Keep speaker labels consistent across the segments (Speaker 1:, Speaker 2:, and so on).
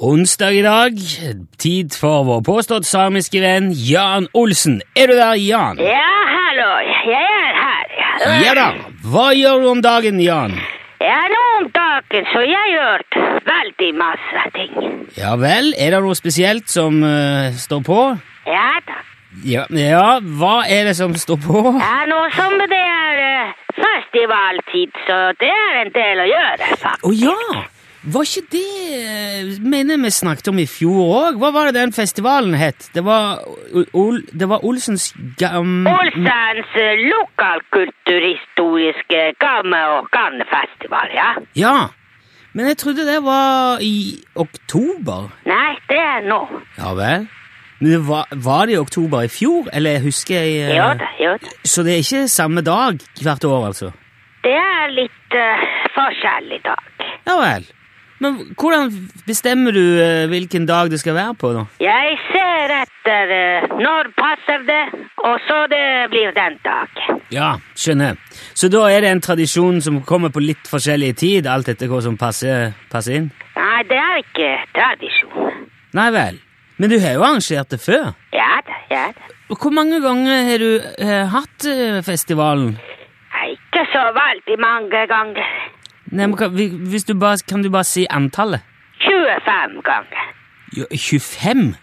Speaker 1: Onsdag i dag. Tid for vår påstått samiske venn Jan Olsen. Er du der, Jan?
Speaker 2: Ja, hallo. Jeg er her.
Speaker 1: Ja da. Hva gjør du om dagen, Jan?
Speaker 2: Ja, nå om dagen, så jeg gjør veldig masse ting.
Speaker 1: Ja vel, er det noe spesielt som eh, står på?
Speaker 2: Ja da.
Speaker 1: Ja, ja, hva er det som står på?
Speaker 2: Ja, nå som det er eh, festivaltid, så det er en del å gjøre,
Speaker 1: Å
Speaker 2: faktisk.
Speaker 1: ja! Var ikke det eh, mener vi snakket om i fjor òg? Hva var det den festivalen het? Det var, Ol- Ol, det var Olsens gam...
Speaker 2: Olsens eh, lokalkulturhistoriske gamme- og kannefestival, ja.
Speaker 1: Ja. Men jeg trodde det var i oktober.
Speaker 2: Nei, det er nå.
Speaker 1: Ja vel? Men det var, var det i oktober i fjor? Eller husker jeg eh,
Speaker 2: Jo da, jo da.
Speaker 1: Så det er ikke samme dag hvert år, altså?
Speaker 2: Det er litt eh, forskjell i dag.
Speaker 1: Ja vel. Men hvordan bestemmer du eh, hvilken dag det skal være på, da?
Speaker 2: Jeg ser etter eh, når passer det, og så det blir den dagen.
Speaker 1: Ja, skjønner. Så da er det en tradisjon som kommer på litt forskjellig tid, alt etter hva som passer, passer inn?
Speaker 2: Nei, det er ikke tradisjon.
Speaker 1: Nei vel. Men du har jo arrangert det før.
Speaker 2: Ja da, ja da.
Speaker 1: Og Hvor mange ganger har du eh, hatt eh, festivalen?
Speaker 2: Nei, Ikke så veldig mange ganger.
Speaker 1: Nei, men kan, vi- hvis du bare, kan du bare si antallet?
Speaker 2: 25 ganger
Speaker 1: Jo, 25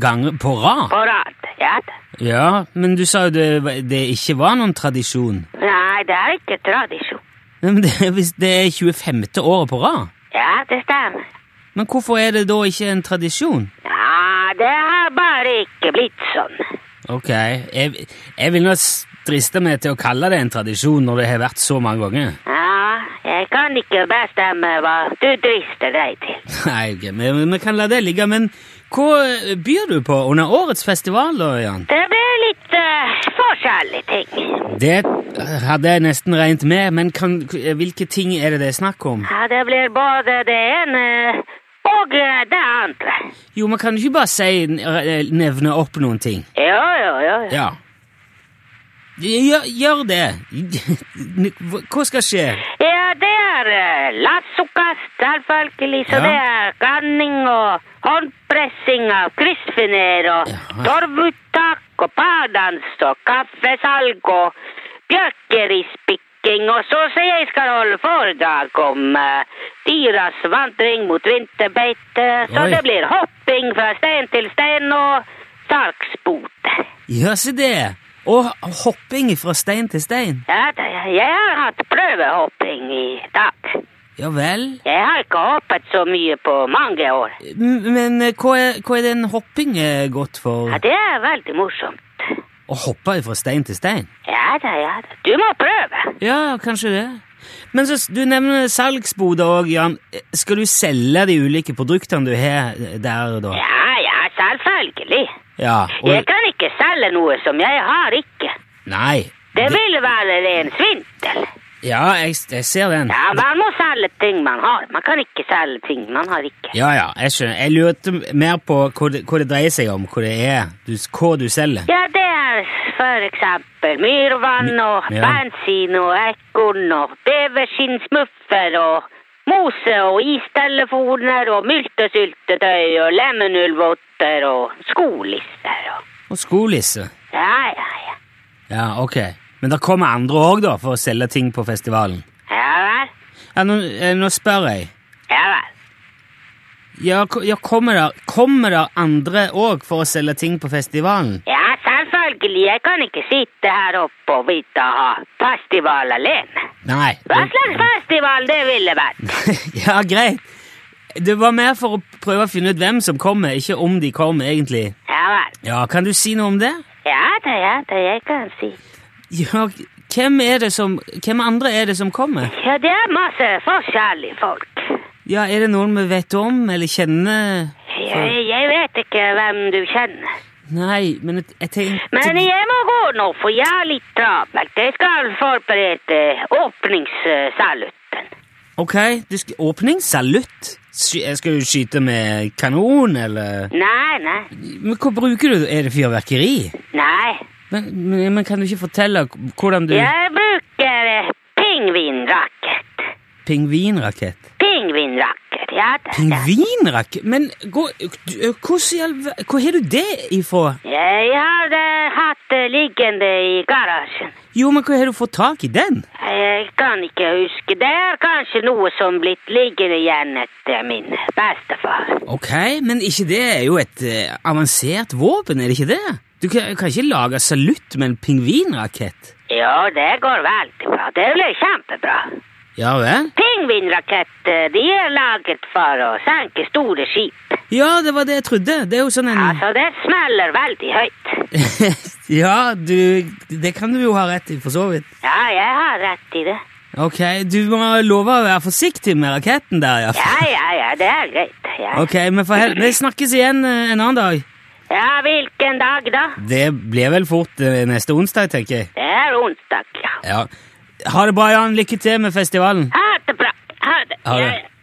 Speaker 1: ganger på rad?
Speaker 2: på rad. Ja da.
Speaker 1: Ja, men du sa jo det, det ikke var noen tradisjon.
Speaker 2: Nei, det er ikke tradisjon.
Speaker 1: Nei, Men det, er- hvis det er 25. året på rad,
Speaker 2: Ja, det stemmer.
Speaker 1: men hvorfor er det da ikke en tradisjon?
Speaker 2: Ja, det har bare ikke blitt sånn.
Speaker 1: Ok, jeg, jeg vil nå s- driste meg til å kalle det en tradisjon når det har vært så mange ganger.
Speaker 2: Ja, jeg kan ikke bestemme hva du drister deg til.
Speaker 1: Nei, ok, men vi kan la det ligge, men hva byr du på under årets festival da, Jan?
Speaker 2: Det blir litt eh, forskjellige ting.
Speaker 1: Det hadde jeg nesten regnet med, men kan, hvilke ting er det det er snakk om?
Speaker 2: Ja, det blir både det ene og eh, det andre.
Speaker 1: Jo, man kan jo ikke bare si, nevne opp noen ting.
Speaker 2: Jo, jo, jo. jo.
Speaker 1: Ja. Gjør, gjør det. Hva skal skje?
Speaker 2: Ja, det er eh, lassokast, selvfølgelig. Så
Speaker 1: Ja.
Speaker 2: det er ganning og håndpressing av kryssfiner og
Speaker 1: Jaha.
Speaker 2: torvuttak og pardans og kaffesalg og bjørkerispikking. Og så så jeg skal holde foredrag om eh, dyras vandring mot vinterbeite. Så
Speaker 1: Oi.
Speaker 2: det blir hopping fra stein til stein og sarksboter.
Speaker 1: Gjør seg det. Og hopping fra stein til stein.
Speaker 2: Ja, da, ja, jeg har hatt prøvehopping i dag.
Speaker 1: Ja vel.
Speaker 2: Jeg har ikke hoppet så mye på mange år.
Speaker 1: M- Men eh, hva er, hva er den hopping eh, godt for?
Speaker 2: Ja, det er veldig morsomt.
Speaker 1: Å hoppe fra stein til stein?
Speaker 2: Ja da, ja da. Du må prøve.
Speaker 1: Ja, kanskje det. Men så, s- du nevner salgsboder òg, Jan. Eh, Skal du selge de ulike produktene du har eh, der, da?
Speaker 2: Ja, ja, selvfølgelig.
Speaker 1: Ja.
Speaker 2: Jeg
Speaker 1: Og,
Speaker 2: kan ikke selge noe som jeg har ikke.
Speaker 1: nei.
Speaker 2: Det ville være ren svindel.
Speaker 1: Ja, jeg, s- jeg ser den.
Speaker 2: Ja, man må selge ting man har. Man kan ikke selge ting man har ikke.
Speaker 1: Ja, ja, jeg skjønner. Jeg lurte mer på hva det, hva det dreier seg om, hva det er, du, s- hva du selger.
Speaker 2: Ja, det er for eksempel myrvann og
Speaker 1: Ja.
Speaker 2: bensin og ekorn og beverskinnsmuffer og mose og istelefoner og multesyltetøy og lemonullvotter og skolisser og
Speaker 1: Og skolisse.
Speaker 2: Ja, ja, ja.
Speaker 1: Ja, ok. Men det kommer andre òg, da, for å selge ting på festivalen?
Speaker 2: Ja vel.
Speaker 1: Ja, nå, eh, nå spør jeg.
Speaker 2: Ja vel.
Speaker 1: Ja, ko- ja kommer der, kommer der andre òg for å selge ting på festivalen?
Speaker 2: Ja, selvfølgelig. Jeg kan ikke sitte her oppe og vite å ha festival alene.
Speaker 1: Nei.
Speaker 2: Hva slags festival det ville vært?
Speaker 1: ja, greit. Det var mer for å prøve å finne ut hvem som kommer, ikke om de kommer, egentlig.
Speaker 2: Ja vel.
Speaker 1: Ja, Kan du si noe om det?
Speaker 2: Ja da, ja da, jeg kan si.
Speaker 1: Ja, hvem er det som Hvem andre er det som kommer?
Speaker 2: Ja, det er masse forskjellige folk.
Speaker 1: Ja, Er det noen vi vet om eller kjenner?
Speaker 2: Jeg, jeg vet ikke hvem du kjenner.
Speaker 1: Nei, men jeg, jeg tenker
Speaker 2: Men jeg må gå nå, for jeg er litt travelt. Jeg skal forberede åpningssaluten.
Speaker 1: Ok, du skal, åpning, salutt. Sky, eh, skal du skyte med kanon, eller
Speaker 2: Nei, nei,
Speaker 1: Men Hva bruker du? Er det fyrverkeri?
Speaker 2: nei.
Speaker 1: Men, men, men kan du ikke fortelle k- hvordan du
Speaker 2: Jeg bruker eh, pingvinrakett.
Speaker 1: Pingvinrakett.
Speaker 2: Pingvinrakett. der. Ja, der, der.
Speaker 1: Pingvinrakk? Men gå- du- eh, hvordan i all ver- Hvor har du det ifra?
Speaker 2: Jeg har eh, hatt det liggende i garasjen.
Speaker 1: Jo, men hvor har du fått tak i den?
Speaker 2: Jeg kan ikke huske. Det er kanskje noe som blitt liggende igjen etter min bestefar.
Speaker 1: Ok, men ikke det er jo et eh, avansert våpen, er det ikke det? Du kan, kan ikke lage salutt med en pingvinrakett.
Speaker 2: Jo, det går veldig bra. Det blir kjempebra.
Speaker 1: Ja vel?
Speaker 2: Pingvinraketter, de er laget for å senke store skip.
Speaker 1: Ja, det var det jeg trodde. Det er jo sånn en
Speaker 2: Altså, det smeller veldig høyt.
Speaker 1: Ja, du Det kan du jo ha rett i, for så vidt.
Speaker 2: Ja, jeg har rett i det.
Speaker 1: Ok, du må love å være forsiktig med raketten der, ja.
Speaker 2: Ja, ja, ja, det er greit. Ja,
Speaker 1: Ok, men for hel... Vi snakkes igjen eh, en annen dag.
Speaker 2: ja hvilken dag da?
Speaker 1: Det blir vel fort eh, neste onsdag, tenker jeg.
Speaker 2: Det er onsdag, ja.
Speaker 1: Ja. Ha det bra, Jan. Lykke til med festivalen.
Speaker 2: Ha det bra. Ha det.
Speaker 1: Ha det.
Speaker 2: Ja, ja.